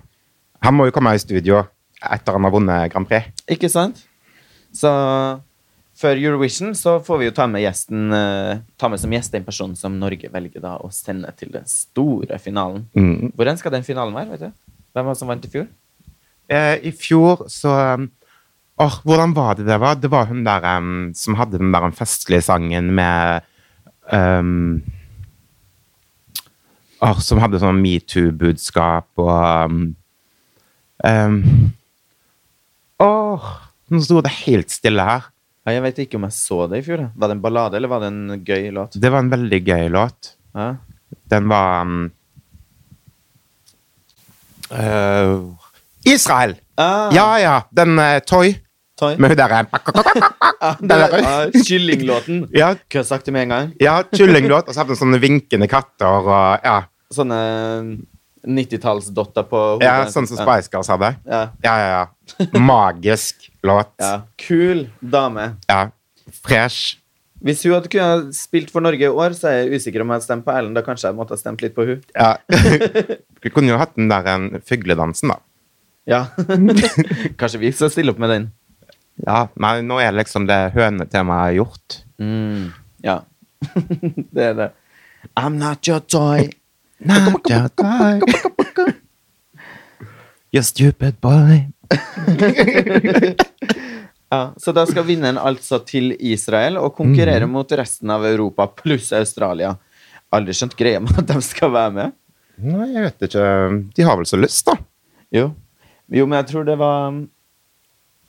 [SPEAKER 1] Han må jo komme i studio etter han har vunnet Grand Prix.
[SPEAKER 2] Ikke sant? Så før Eurovision så får vi jo ta med gjesten eh, ta med som gjest den personen som Norge velger da å sende til den store finalen.
[SPEAKER 1] Mhm.
[SPEAKER 2] Hvor enn skal den finalen være? vet du? Hvem var det som vant i fjor?
[SPEAKER 1] Eh, I fjor så um, Åh, hvordan var det det var? Det var hun der um, som hadde den der um, festlige sangen med um, Åh, som hadde sånn metoo-budskap og um, um, Åh, nå sto det helt stille her.
[SPEAKER 2] Ja, jeg vet ikke om jeg så det i fjor. da. Var det en ballade, eller var det en gøy låt?
[SPEAKER 1] Det var en veldig gøy låt.
[SPEAKER 2] Ja.
[SPEAKER 1] Den var um, eh, Israel!
[SPEAKER 2] Ah,
[SPEAKER 1] Ja, ja. Den uh, Toy
[SPEAKER 2] Toy.
[SPEAKER 1] med hun derre
[SPEAKER 2] *laughs* Ah, det
[SPEAKER 1] der-
[SPEAKER 2] var- ah, Kyllinglåten.
[SPEAKER 1] Ja,
[SPEAKER 2] Hva har jeg sagt det med en gang?
[SPEAKER 1] Ja, kyllinglåt, og så hadde han sånne vinkende katter og ja,
[SPEAKER 2] Sånne 90-tallsdotter på hodet.
[SPEAKER 1] ja sånn som Spice Girls hadde.
[SPEAKER 2] Ja.
[SPEAKER 1] Ja, ja, ja. Magisk låt.
[SPEAKER 2] Ja. Kul dame.
[SPEAKER 1] Ja. Fresh.
[SPEAKER 2] Hvis hun hadde kunnet spilt for Norge i år, så er jeg usikker om jeg hadde stemt på Erlend. Da kanskje jeg måtte ha stemt litt på hun.
[SPEAKER 1] Ja. *laughs* Vi kunne jo hatt den der en fugledansen, da.
[SPEAKER 2] Ja. *laughs* kanskje vi skal stille opp med den.
[SPEAKER 1] Ja, Nei, nå er liksom det hønetemaet gjort.
[SPEAKER 2] Mm. Ja. *laughs* det er det. I'm not your toy.
[SPEAKER 1] Not *laughs* your toy. You stupid boy.
[SPEAKER 2] Ja, så da skal vinneren altså til Israel og
[SPEAKER 1] Mhm.
[SPEAKER 2] konkurrere mot resten av Europa pluss Australia. Aldri skjønt greia med at de skal være med.
[SPEAKER 1] Nei, jeg vet ikke. De har vel så lyst, da.
[SPEAKER 2] Jo. jo, men jeg tror det var um,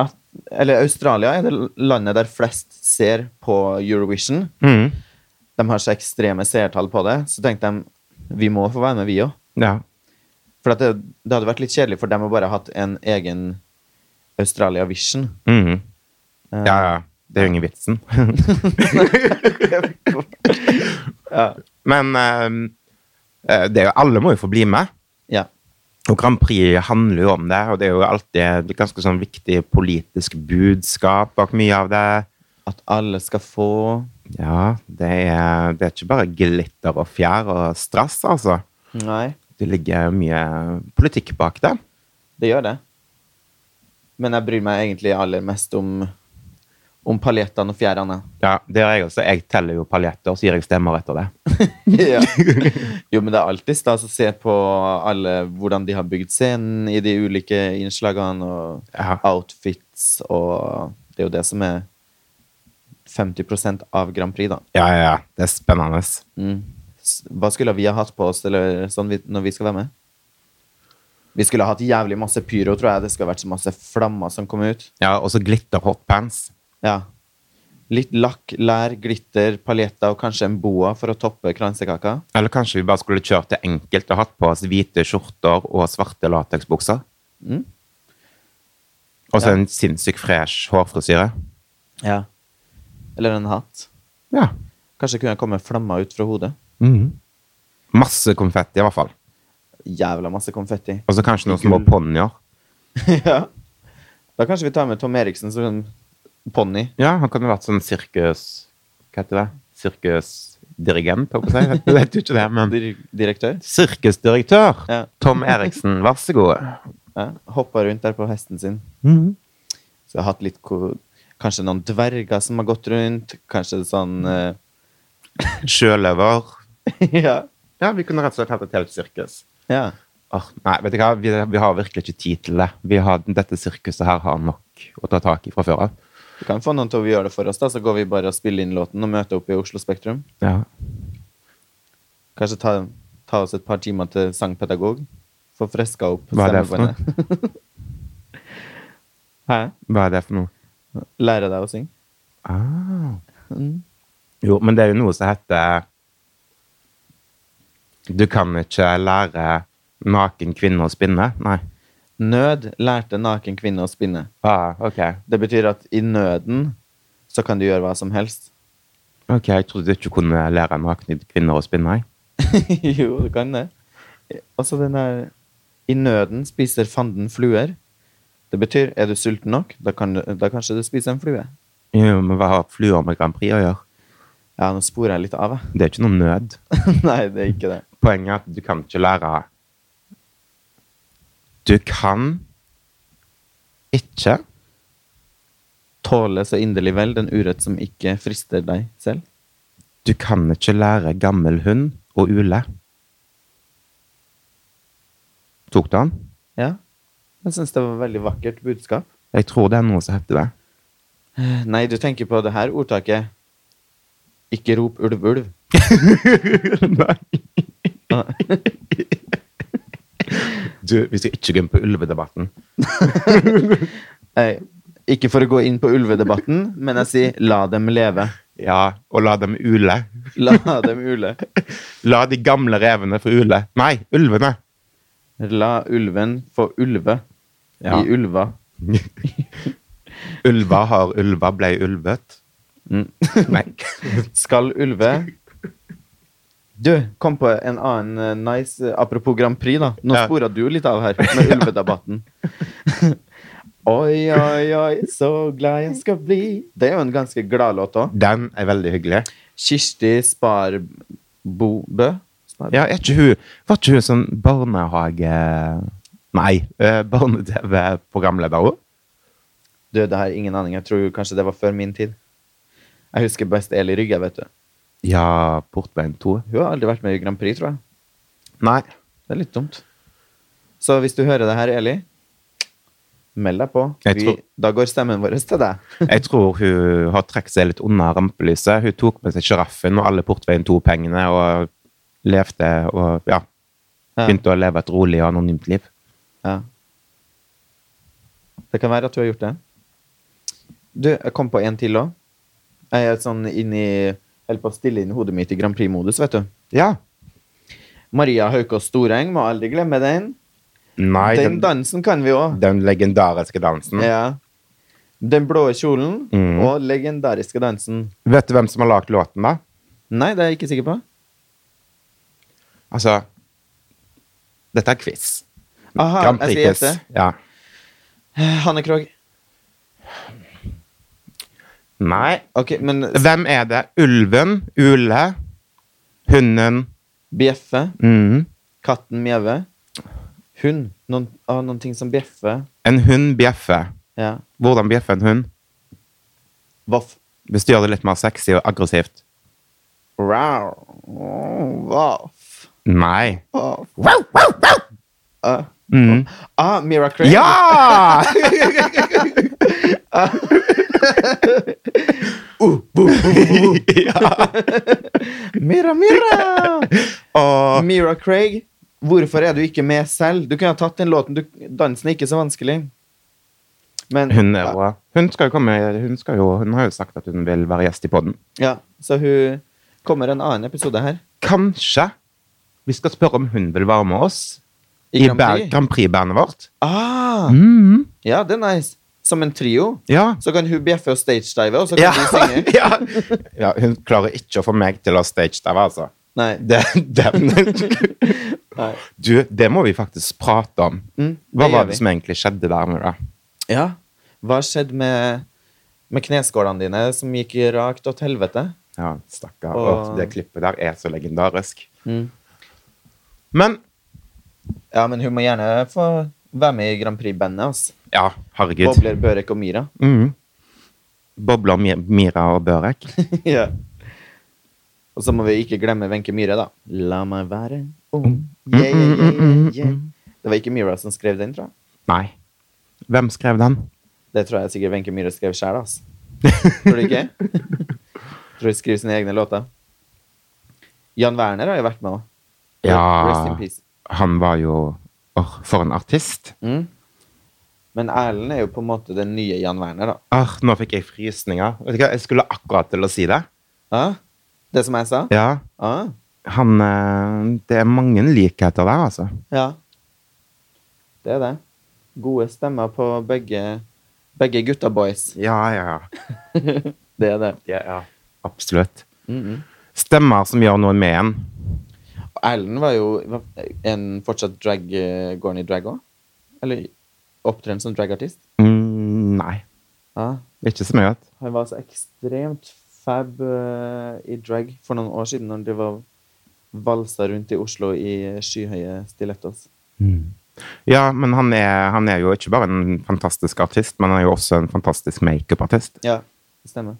[SPEAKER 2] at, Eller Australia er det landet der flest ser på Eurovision.
[SPEAKER 1] Mhm.
[SPEAKER 2] De har så ekstreme seertall på det. Så tenkte de vi må få være med, vi òg.
[SPEAKER 1] Ja.
[SPEAKER 2] For at det, det hadde vært litt kjedelig for dem å bare hatt en egen Australia Vision.
[SPEAKER 1] Mhm. ja, ja. Det er jo ingen *laughs* vitsen. Men eh, eh, det er jo, alle må jo få bli med.
[SPEAKER 2] Ja.
[SPEAKER 1] Og Grand Prix handler jo om det, og det er jo alltid et ganske sånn viktig politisk budskap bak mye av det.
[SPEAKER 2] At alle skal få
[SPEAKER 1] Ja, det er, det er ikke bare glitter og fjær og strass, altså.
[SPEAKER 2] Nei,
[SPEAKER 1] Det ligger mye politikk bak det.
[SPEAKER 2] det gjør det. Men jeg bryr meg egentlig aller mest om om paljettene og fjærene.
[SPEAKER 1] Ja, det gjør jeg også. Jeg teller jo paljetter, så gir jeg stemmer etter det.
[SPEAKER 2] ja. *laughs* Jo, men det er alltid stas å se på alle, hvordan de har bygd scenen i de ulike innslagene og
[SPEAKER 1] Ja.
[SPEAKER 2] outfits, og det er jo det som er 50 av Grand Prix, da.
[SPEAKER 1] Ja, ja, ja. Det er spennende.
[SPEAKER 2] Mm. S- Hva skulle vi ha hatt på oss eller, sånn, vi- når vi skal være med? Vi skulle ha hatt jævlig masse pyro, tror jeg. Det skulle ha vært så masse flammer som kom ut.
[SPEAKER 1] Ja, og så glitter hotpants.
[SPEAKER 2] Ja. Litt lakk, lær, glitter, paljetter og kanskje en boa for å toppe kransekaka.
[SPEAKER 1] Eller kanskje vi bare skulle kjørt det enkelt og hatt på oss hvite skjorter og svarte lateksbukser.
[SPEAKER 2] Mm.
[SPEAKER 1] Og
[SPEAKER 2] Ja.
[SPEAKER 1] så en sinnssykt fresh hårfrisyre.
[SPEAKER 2] Ja. Eller en hatt.
[SPEAKER 1] Ja.
[SPEAKER 2] Kanskje kunne jeg komme flammer ut fra hodet.
[SPEAKER 1] Mhm. Masse konfetti, i hvert fall.
[SPEAKER 2] Jævla masse
[SPEAKER 1] *laughs*
[SPEAKER 2] konfetti.
[SPEAKER 1] Og så kanskje noen små
[SPEAKER 2] Gull.
[SPEAKER 1] ponnier.
[SPEAKER 2] ja. Da kanskje vi tar med Tom Eriksen som ponni.
[SPEAKER 1] Ja, han kunne vært sånn sirkus... Hva heter det? Sirkusdirigent,
[SPEAKER 2] *laughs*
[SPEAKER 1] håper jeg. Jeg vet jo ikke det, men
[SPEAKER 2] Dir direktør.
[SPEAKER 1] Sirkusdirektør
[SPEAKER 2] Ja.
[SPEAKER 1] Tom Eriksen, vær så god.
[SPEAKER 2] Ja. Hoppa rundt der på hesten sin. Mm. Så jeg har hatt litt ko Kanskje noen dverger som har gått rundt. Kanskje sånn eh, *laughs*
[SPEAKER 1] Sjøløver.
[SPEAKER 2] ja.
[SPEAKER 1] Ja, vi kunne rett og slett hatt et helt sirkus.
[SPEAKER 2] ja.
[SPEAKER 1] Åh, nei, vet du hva? Vi, vi har virkelig ikke tid til det. Vi har, dette sirkuset her har nok å ta tak i fra før av.
[SPEAKER 2] Du kan få noen til å gjøre det for oss, da, så går vi bare og spiller inn låten og møter opp i Oslo Spektrum.
[SPEAKER 1] Ja.
[SPEAKER 2] Kanskje ta, ta oss et par timer til sangpedagog. Få freska opp
[SPEAKER 1] Hva er det for noe?
[SPEAKER 2] stemmebåndet. *laughs* Hæ?
[SPEAKER 1] Hva er det for noe?
[SPEAKER 2] Lære deg å synge?
[SPEAKER 1] Ah.
[SPEAKER 2] Mm.
[SPEAKER 1] Jo, men det er jo noe som heter Du kan ikke lære naken kvinne å spinne. Nei.
[SPEAKER 2] Nød lærte naken kvinne å spinne.
[SPEAKER 1] Ah, ok.
[SPEAKER 2] Det betyr at i nøden så kan du gjøre hva som helst.
[SPEAKER 1] Ok, Jeg trodde du ikke kunne lære nakne kvinner å spinne. jeg.
[SPEAKER 2] *laughs* jo, du kan det. Og så den der I nøden spiser fanden fluer. Det betyr er du sulten nok, da, kan du, da kanskje du spiser en flue.
[SPEAKER 1] Jo, men Hva har fluer med Grand Prix å gjøre?
[SPEAKER 2] Ja, nå sporer jeg litt av, jeg. *laughs*
[SPEAKER 1] Det er ikke noe nød.
[SPEAKER 2] Nei, det er ikke det.
[SPEAKER 1] Poenget er at du kan ikke lære Du kan ikke
[SPEAKER 2] Tåle så inderlig vel den urett som ikke frister deg selv.
[SPEAKER 1] Du kan ikke lære gammel hund å ule. Tok du den?
[SPEAKER 2] Ja. Jeg syns det var et veldig vakkert budskap.
[SPEAKER 1] Jeg tror det er noe som heter det.
[SPEAKER 2] Nei, du tenker på det her ordtaket. Ikke rop ulv, ulv.
[SPEAKER 1] Nei.
[SPEAKER 2] Ah,
[SPEAKER 1] *laughs* Du, vi skal ikke gå inn på ulvedebatten.
[SPEAKER 2] eh, Ikke for å gå inn på ulvedebatten, men jeg sier la dem leve.
[SPEAKER 1] Ja, og la dem ule.
[SPEAKER 2] La dem ule.
[SPEAKER 1] La de gamle revene få ule. Nei, ulvene!
[SPEAKER 2] La ulven få ulve
[SPEAKER 1] Ja.
[SPEAKER 2] i ulva.
[SPEAKER 1] Ulva har ulva, blei ulvet.
[SPEAKER 2] Mm.
[SPEAKER 1] *laughs* Nei.
[SPEAKER 2] Skal ulve Du, kom på en annen eh, nice eh, Apropos Grand Prix, da. Nå
[SPEAKER 1] Ja.
[SPEAKER 2] spora du litt av her med ulvedebatten.
[SPEAKER 1] *laughs*
[SPEAKER 2] oi, oi, oi, så glad jeg skal bli Det er jo en ganske gladlåt òg.
[SPEAKER 1] Den er veldig hyggelig.
[SPEAKER 2] Kirsti Sparbobø. Spar
[SPEAKER 1] Ja, er ikke hun Var ikke hun sånn barnehage... Nei, eh, barne-TV-programleder òg?
[SPEAKER 2] Du, det her, ingen aning. Jeg tror kanskje det var før min tid. Jeg husker best Eli Rygge, vet du.
[SPEAKER 1] Ja, Portveien 2.
[SPEAKER 2] Hun har aldri vært med i Grand Prix, tror jeg.
[SPEAKER 1] Nei.
[SPEAKER 2] Det er litt dumt. Så hvis du hører det her, Eli, meld deg på.
[SPEAKER 1] Jeg
[SPEAKER 2] Vi,
[SPEAKER 1] tror-
[SPEAKER 2] da går stemmen vår til deg.
[SPEAKER 1] Jeg tror hun har trukket seg litt unna rampelyset. Hun tok med seg sjiraffen og alle Portveien 2-pengene og levde og ja,
[SPEAKER 2] Ja.
[SPEAKER 1] begynte å leve et rolig og anonymt liv.
[SPEAKER 2] Ja. Det kan være at du har gjort det. Du, jeg kom på en til òg. Jeg er sånn inn i Holder på å stille inn hodet mitt i Grand Prix-modus, vet du.
[SPEAKER 1] Ja.
[SPEAKER 2] Maria Haukås Storeng, må aldri glemme den.
[SPEAKER 1] Nei,
[SPEAKER 2] den
[SPEAKER 1] den, den,
[SPEAKER 2] dansen kan vi òg.
[SPEAKER 1] legendariske dansen.
[SPEAKER 2] Ja. Den blå kjolen
[SPEAKER 1] Mm.
[SPEAKER 2] og legendariske dansen.
[SPEAKER 1] Vet du hvem som har lagd låten, da?
[SPEAKER 2] Nei, det er jeg ikke sikker på.
[SPEAKER 1] Altså Dette er quiz.
[SPEAKER 2] Aha,
[SPEAKER 1] Grand
[SPEAKER 2] jeg skal
[SPEAKER 1] Prix-quiz.
[SPEAKER 2] gjette.
[SPEAKER 1] Ja.
[SPEAKER 2] Hanne Krogh.
[SPEAKER 1] Nei.
[SPEAKER 2] Ok, men
[SPEAKER 1] Hvem er det? Ulven? Ule? Hunden?
[SPEAKER 2] bjeffe,
[SPEAKER 1] Mm.
[SPEAKER 2] katten mjauer, hund. Noen, ah, noen ting som bjeffer.
[SPEAKER 1] En hund bjeffer.
[SPEAKER 2] Ja.
[SPEAKER 1] Hvordan bjeffer en hund?
[SPEAKER 2] Voff.
[SPEAKER 1] Hvis du gjør det litt mer sexy og aggressivt
[SPEAKER 2] Wow. Voff.
[SPEAKER 1] Nei.
[SPEAKER 2] Voff.
[SPEAKER 1] Wow, wow, wow!
[SPEAKER 2] Ah.
[SPEAKER 1] Mm.
[SPEAKER 2] ah, Mira Craig. *laughs*
[SPEAKER 1] Ja! ja.
[SPEAKER 2] Mira, Mira!
[SPEAKER 1] *laughs* Og
[SPEAKER 2] Mira Craig, hvorfor er du ikke med selv? Du kunne ha tatt den låten. Du, dansen er ikke så vanskelig. Men
[SPEAKER 1] hun er bra. Hun skal jo komme Hun, skal jo, hun har jo sagt at hun vil være gjest i poden.
[SPEAKER 2] Ja, så hun kommer en annen episode her.
[SPEAKER 1] Kanskje vi skal spørre om hun vil være med oss i,
[SPEAKER 2] I Grand
[SPEAKER 1] Ber-
[SPEAKER 2] Prix.
[SPEAKER 1] Grand Prix-bandet vårt.
[SPEAKER 2] Ah,
[SPEAKER 1] Mm.
[SPEAKER 2] ja, det er nice. Som en trio.
[SPEAKER 1] Ja.
[SPEAKER 2] Så kan hun bjeffe og stagedive, og så kan
[SPEAKER 1] Ja.
[SPEAKER 2] vi synge.
[SPEAKER 1] *laughs* ja. ja. Hun klarer ikke å få meg til å stage der, altså.
[SPEAKER 2] Nei.
[SPEAKER 1] Det, den.
[SPEAKER 2] Nei.
[SPEAKER 1] Du, det må vi faktisk prate om.
[SPEAKER 2] Mm,
[SPEAKER 1] Hva
[SPEAKER 2] det gjør
[SPEAKER 1] var det
[SPEAKER 2] vi.
[SPEAKER 1] som egentlig skjedde der? Mira?
[SPEAKER 2] Ja. Hva skjedde med, med kneskålene dine, som gikk rakt til helvete?
[SPEAKER 1] Ja, stakkar.
[SPEAKER 2] Åh.
[SPEAKER 1] Åh, Det klippet der er så legendarisk.
[SPEAKER 2] Mm.
[SPEAKER 1] Men
[SPEAKER 2] Ja, men hun må gjerne få være med i Grand Prix-bandet. Altså.
[SPEAKER 1] ja, herregud.
[SPEAKER 2] Bobler, Børek og Mira.
[SPEAKER 1] Mm. Bobler Mi- Mira og
[SPEAKER 2] *laughs*
[SPEAKER 1] Børek.
[SPEAKER 2] *laughs* ja. Og så må vi ikke glemme Wenche Myhre, da. La meg være ung.
[SPEAKER 1] Mm.
[SPEAKER 2] Yeah, yeah, yeah, yeah. Det var ikke Myhra som skrev den, tror jeg.
[SPEAKER 1] Nei. Hvem skrev den?
[SPEAKER 2] Det tror jeg sikkert Wenche Myhre skrev sjøl. Tror du *laughs* ikke? tror hun skriver sine egne låter. Jan Werner har jo vært med òg. Rest in
[SPEAKER 1] Ja,
[SPEAKER 2] peace.
[SPEAKER 1] han var jo Åh, for en artist.
[SPEAKER 2] Mm. Men Erlend er jo på en måte den nye Jan Werner, da.
[SPEAKER 1] Åh, nå fikk jeg frysninger. Vet du hva, Jeg skulle akkurat til å si det.
[SPEAKER 2] Ah? Det som jeg sa?
[SPEAKER 1] Ja,
[SPEAKER 2] Ah?
[SPEAKER 1] han eh, Det er mange likheter der, altså.
[SPEAKER 2] Ja. Det er det. Gode stemmer på begge, begge gutta boys.
[SPEAKER 1] Ja, ja,
[SPEAKER 2] Det er det.
[SPEAKER 1] ja. Absolutt.
[SPEAKER 2] Mm -mm.
[SPEAKER 1] Stemmer som gjør noe med en.
[SPEAKER 2] Og Erlend var jo var en fortsatt drag... eh, Går han i drag òg? Eller opptrer han som dragartist?
[SPEAKER 1] Mm, nei,
[SPEAKER 2] Ja.
[SPEAKER 1] ikke så mye. vet du.
[SPEAKER 2] Han var så ekstremt fab eh, i drag for noen år siden, når de var valsa rundt i Oslo i skyhøye stilettos.
[SPEAKER 1] Ja, men han er, han er jo ikke bare en fantastisk artist, men han er jo også en fantastisk makeup-artist.
[SPEAKER 2] Ja, det stemmer.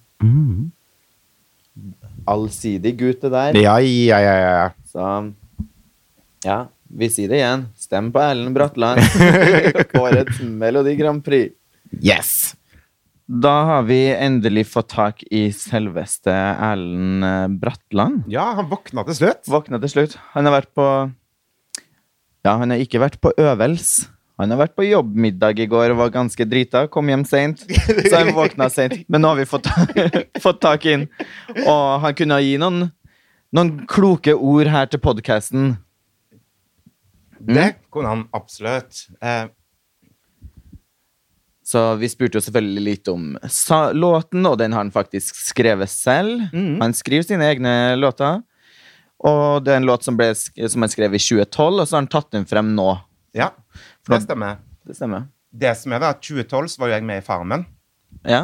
[SPEAKER 2] Allsidig gutt, det der.
[SPEAKER 1] Ja, ja, ja, ja.
[SPEAKER 2] Så ja, vi sier det igjen. Stem på Erlend *laughs* Bratland. Årets Melodi Grand Prix.
[SPEAKER 1] Yes!
[SPEAKER 2] Da har vi endelig fått tak i selveste Erlend eh, Bratland.
[SPEAKER 1] Ja, han våkna til slutt.
[SPEAKER 2] Våkna til slutt. Han har vært på Ja, han har ikke vært på øvelse. Han har vært på jobbmiddag i går og var ganske drita. Kom hjem seint, så han våkna seint. Men nå har vi fått, *laughs* fått tak i han. Og han kunne gi noen, noen kloke ord her til podkasten.
[SPEAKER 1] Det kunne han absolutt. Eh,
[SPEAKER 2] Så vi spurte jo selvfølgelig litt om sa låten, og den har han faktisk skrevet selv.
[SPEAKER 1] Mhm.
[SPEAKER 2] Han skriver sine egne låter. Og det er en låt som, ble, sk- som han skrev i 2012, og så har han tatt den frem nå.
[SPEAKER 1] ja, det stemmer.
[SPEAKER 2] Det stemmer.
[SPEAKER 1] Det som er, da, 2012 så var jo jeg med i Farmen.
[SPEAKER 2] Ja?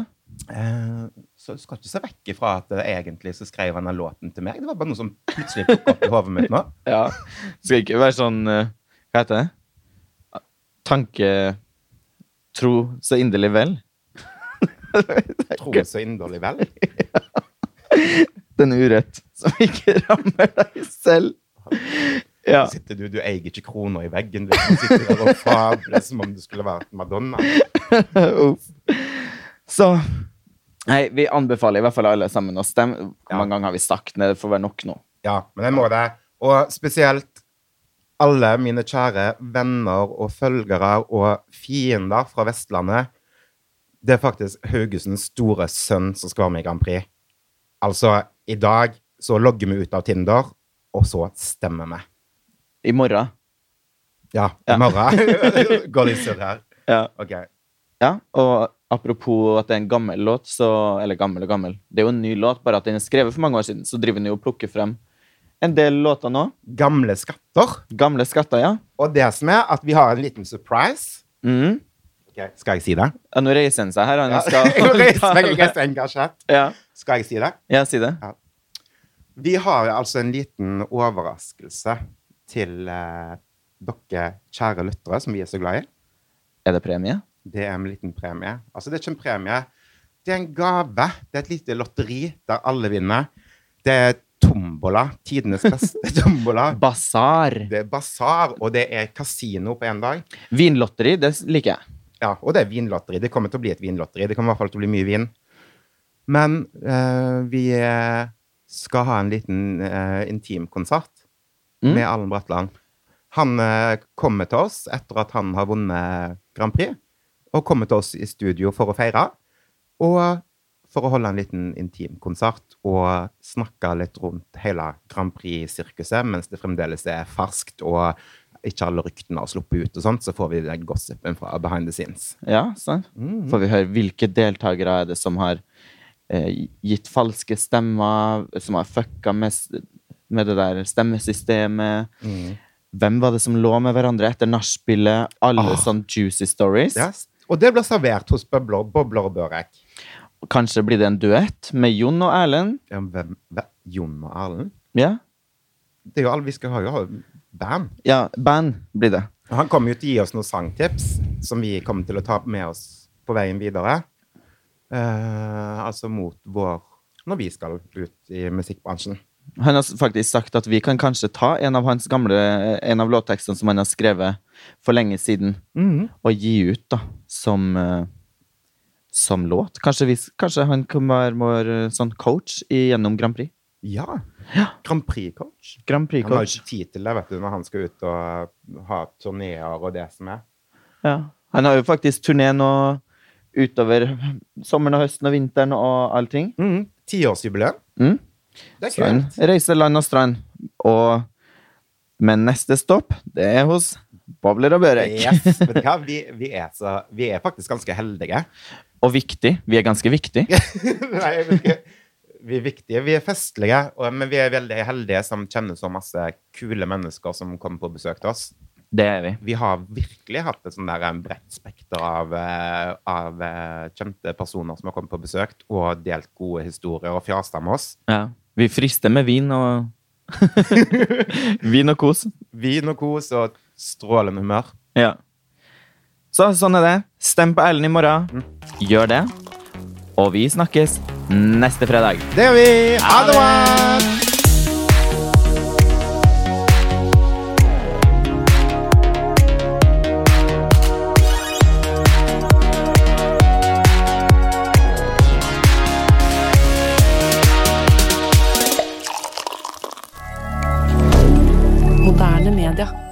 [SPEAKER 1] Eh, så du skal ikke se vekk ifra at eh, egentlig så skrev han den låten til meg. Det var bare noe som plutselig dukket opp i hodet mitt *laughs* nå.
[SPEAKER 2] ja. Det skal ikke være sånn eh, Hva heter det? Tanke... Tro så inderlig vel.
[SPEAKER 1] Tror jeg så inderlig vel.
[SPEAKER 2] Den urett som ikke rammer deg selv. Ja.
[SPEAKER 1] Sitter du, du eier ikke kroner i veggen. Du sitter der og fabler som om du skulle vært Madonna.
[SPEAKER 2] Uff. Så Nei, vi anbefaler i hvert fall alle sammen å stemme. Hvor mange ganger har vi sagt det? Det får være nok nå.
[SPEAKER 1] Ja, men jeg må det. Og spesielt alle mine kjære venner og følgere og fiender fra Vestlandet. Det er faktisk Haugesunds store sønn som skal være med i Grand Prix. Altså, i dag så logger vi ut av Tinder, og så stemmer vi.
[SPEAKER 2] I morgen.
[SPEAKER 1] Ja,
[SPEAKER 2] Ja.
[SPEAKER 1] i morgen *laughs* går det i surr her.
[SPEAKER 2] Ja.
[SPEAKER 1] Ok.
[SPEAKER 2] Og apropos at det er en gammel låt, så Eller gammel og gammel. Det er jo en ny låt, bare at den er skrevet for mange år siden. Så driver den jo og plukker frem en del låter nå.
[SPEAKER 1] Gamle skatter.
[SPEAKER 2] Gamle skatter, ja.
[SPEAKER 1] Og det som er at vi har en liten surprise.
[SPEAKER 2] Mhm.
[SPEAKER 1] Ok, Skal jeg si det?
[SPEAKER 2] ja nå reiser han seg her. Han
[SPEAKER 1] Ja.
[SPEAKER 2] skal
[SPEAKER 1] *laughs* Jeg reiser meg, jeg er så engasjert.
[SPEAKER 2] Ja.
[SPEAKER 1] Skal jeg si det?
[SPEAKER 2] ja, si det.
[SPEAKER 1] Vi har altså en liten overraskelse til eh, dere kjære lyttere, som vi er så glad i.
[SPEAKER 2] Er det premie?
[SPEAKER 1] Det er en liten premie. Altså, det er ikke en premie. Det er en gave. Det er et lite lotteri der alle vinner. Det er tombola. Tidenes beste *laughs* tombola.
[SPEAKER 2] Basar.
[SPEAKER 1] Det er basar, og det er kasino på én dag.
[SPEAKER 2] Vinlotteri, det liker jeg.
[SPEAKER 1] Ja, og det er vinlotteri. Det kommer til å bli et vinlotteri. Det kommer i hvert fall til å bli mye vin. Men eh, vi eh, skal ha en liten eh, intimkonsert
[SPEAKER 2] Mm.
[SPEAKER 1] med Allen Bratland. Han eh, kommer til oss etter at han har vunnet Grand Prix, og kommer til oss i studio for å feire. Og for å holde en liten intimkonsert og snakke litt rundt hele Grand Prix-sirkuset mens det fremdeles er ferskt og ikke alle ryktene har sluppet ut, og sånt, så får vi den gossipen fra behind the scenes.
[SPEAKER 2] Ja, sant?
[SPEAKER 1] Mhm.
[SPEAKER 2] Får vi høre hvilke deltakere er det som har eh, gitt falske stemmer, som har fucka med, s- med det der stemmesystemet. Hvem var det som lå med hverandre etter nachspielet? Alle
[SPEAKER 1] Ah.
[SPEAKER 2] sånn juicy stories.
[SPEAKER 1] Yes. Og det blir servert hos Bobler, Bobler og Børek.
[SPEAKER 2] Kanskje blir det en duett med Jon og Erlend.
[SPEAKER 1] Ja, Hvem, hvem? Jon og Erlend?
[SPEAKER 2] Ja,
[SPEAKER 1] Det er jo alle vi skal ha, jo ha band.
[SPEAKER 2] ja band blir det.
[SPEAKER 1] Han kommer jo til å gi oss noen sangtips som vi kommer til å ta med oss på veien videre. Eh, altså mot vår Når vi skal ut i musikkbransjen.
[SPEAKER 2] Han har s- faktisk sagt at vi kan kanskje ta en av hans gamle eh, En av låttekstene som han har skrevet for lenge siden, og gi ut da som eh, som låt. Kanskje, vi, s- kanskje han kan være vår eh, sånn coach i- gjennom Grand Prix.
[SPEAKER 1] Ja.
[SPEAKER 2] Ja.
[SPEAKER 1] Grand Prix-coach.
[SPEAKER 2] Grand
[SPEAKER 1] Han har jo
[SPEAKER 2] Prix-coach.
[SPEAKER 1] ikke tid til det vet du, når han skal ut og øh, ha turneer og det som er.
[SPEAKER 2] Ja. Han har jo faktisk turné nå utover sommeren og høsten og vinteren og allting.
[SPEAKER 1] Tiårsjubileum.
[SPEAKER 2] Mm.
[SPEAKER 1] Det er
[SPEAKER 2] Så han
[SPEAKER 1] kult.
[SPEAKER 2] reiser land og strand. Og Men neste stopp, det er hos Bobler og Børek.
[SPEAKER 1] Yes, vet du hva? Vi, vi, er så, vi er faktisk ganske heldige. *laughs*
[SPEAKER 2] Og viktig. Vi er ganske viktig.
[SPEAKER 1] Nei, jeg vet ikke. Vi er viktige, vi er festlige, og, men vi er veldig heldige som kjenner så masse kule mennesker som kommer på besøk til oss.
[SPEAKER 2] Det er vi.
[SPEAKER 1] Vi har virkelig hatt et sånn der eh, bredt spekter av, eh, av eh, kjente personer som har kommet på besøk og delt gode historier og fjasta med oss.
[SPEAKER 2] Ja. Vi frister med vin og *laughs* Vin og kos.
[SPEAKER 1] Vin og kos og strålende humør.
[SPEAKER 2] Ja. Så sånn er det. Stem på Ellen i morgen. Gjør det. Og vi snakkes neste fredag.
[SPEAKER 1] Det gjør vi! Ha det! bra!
[SPEAKER 3] Moderne media.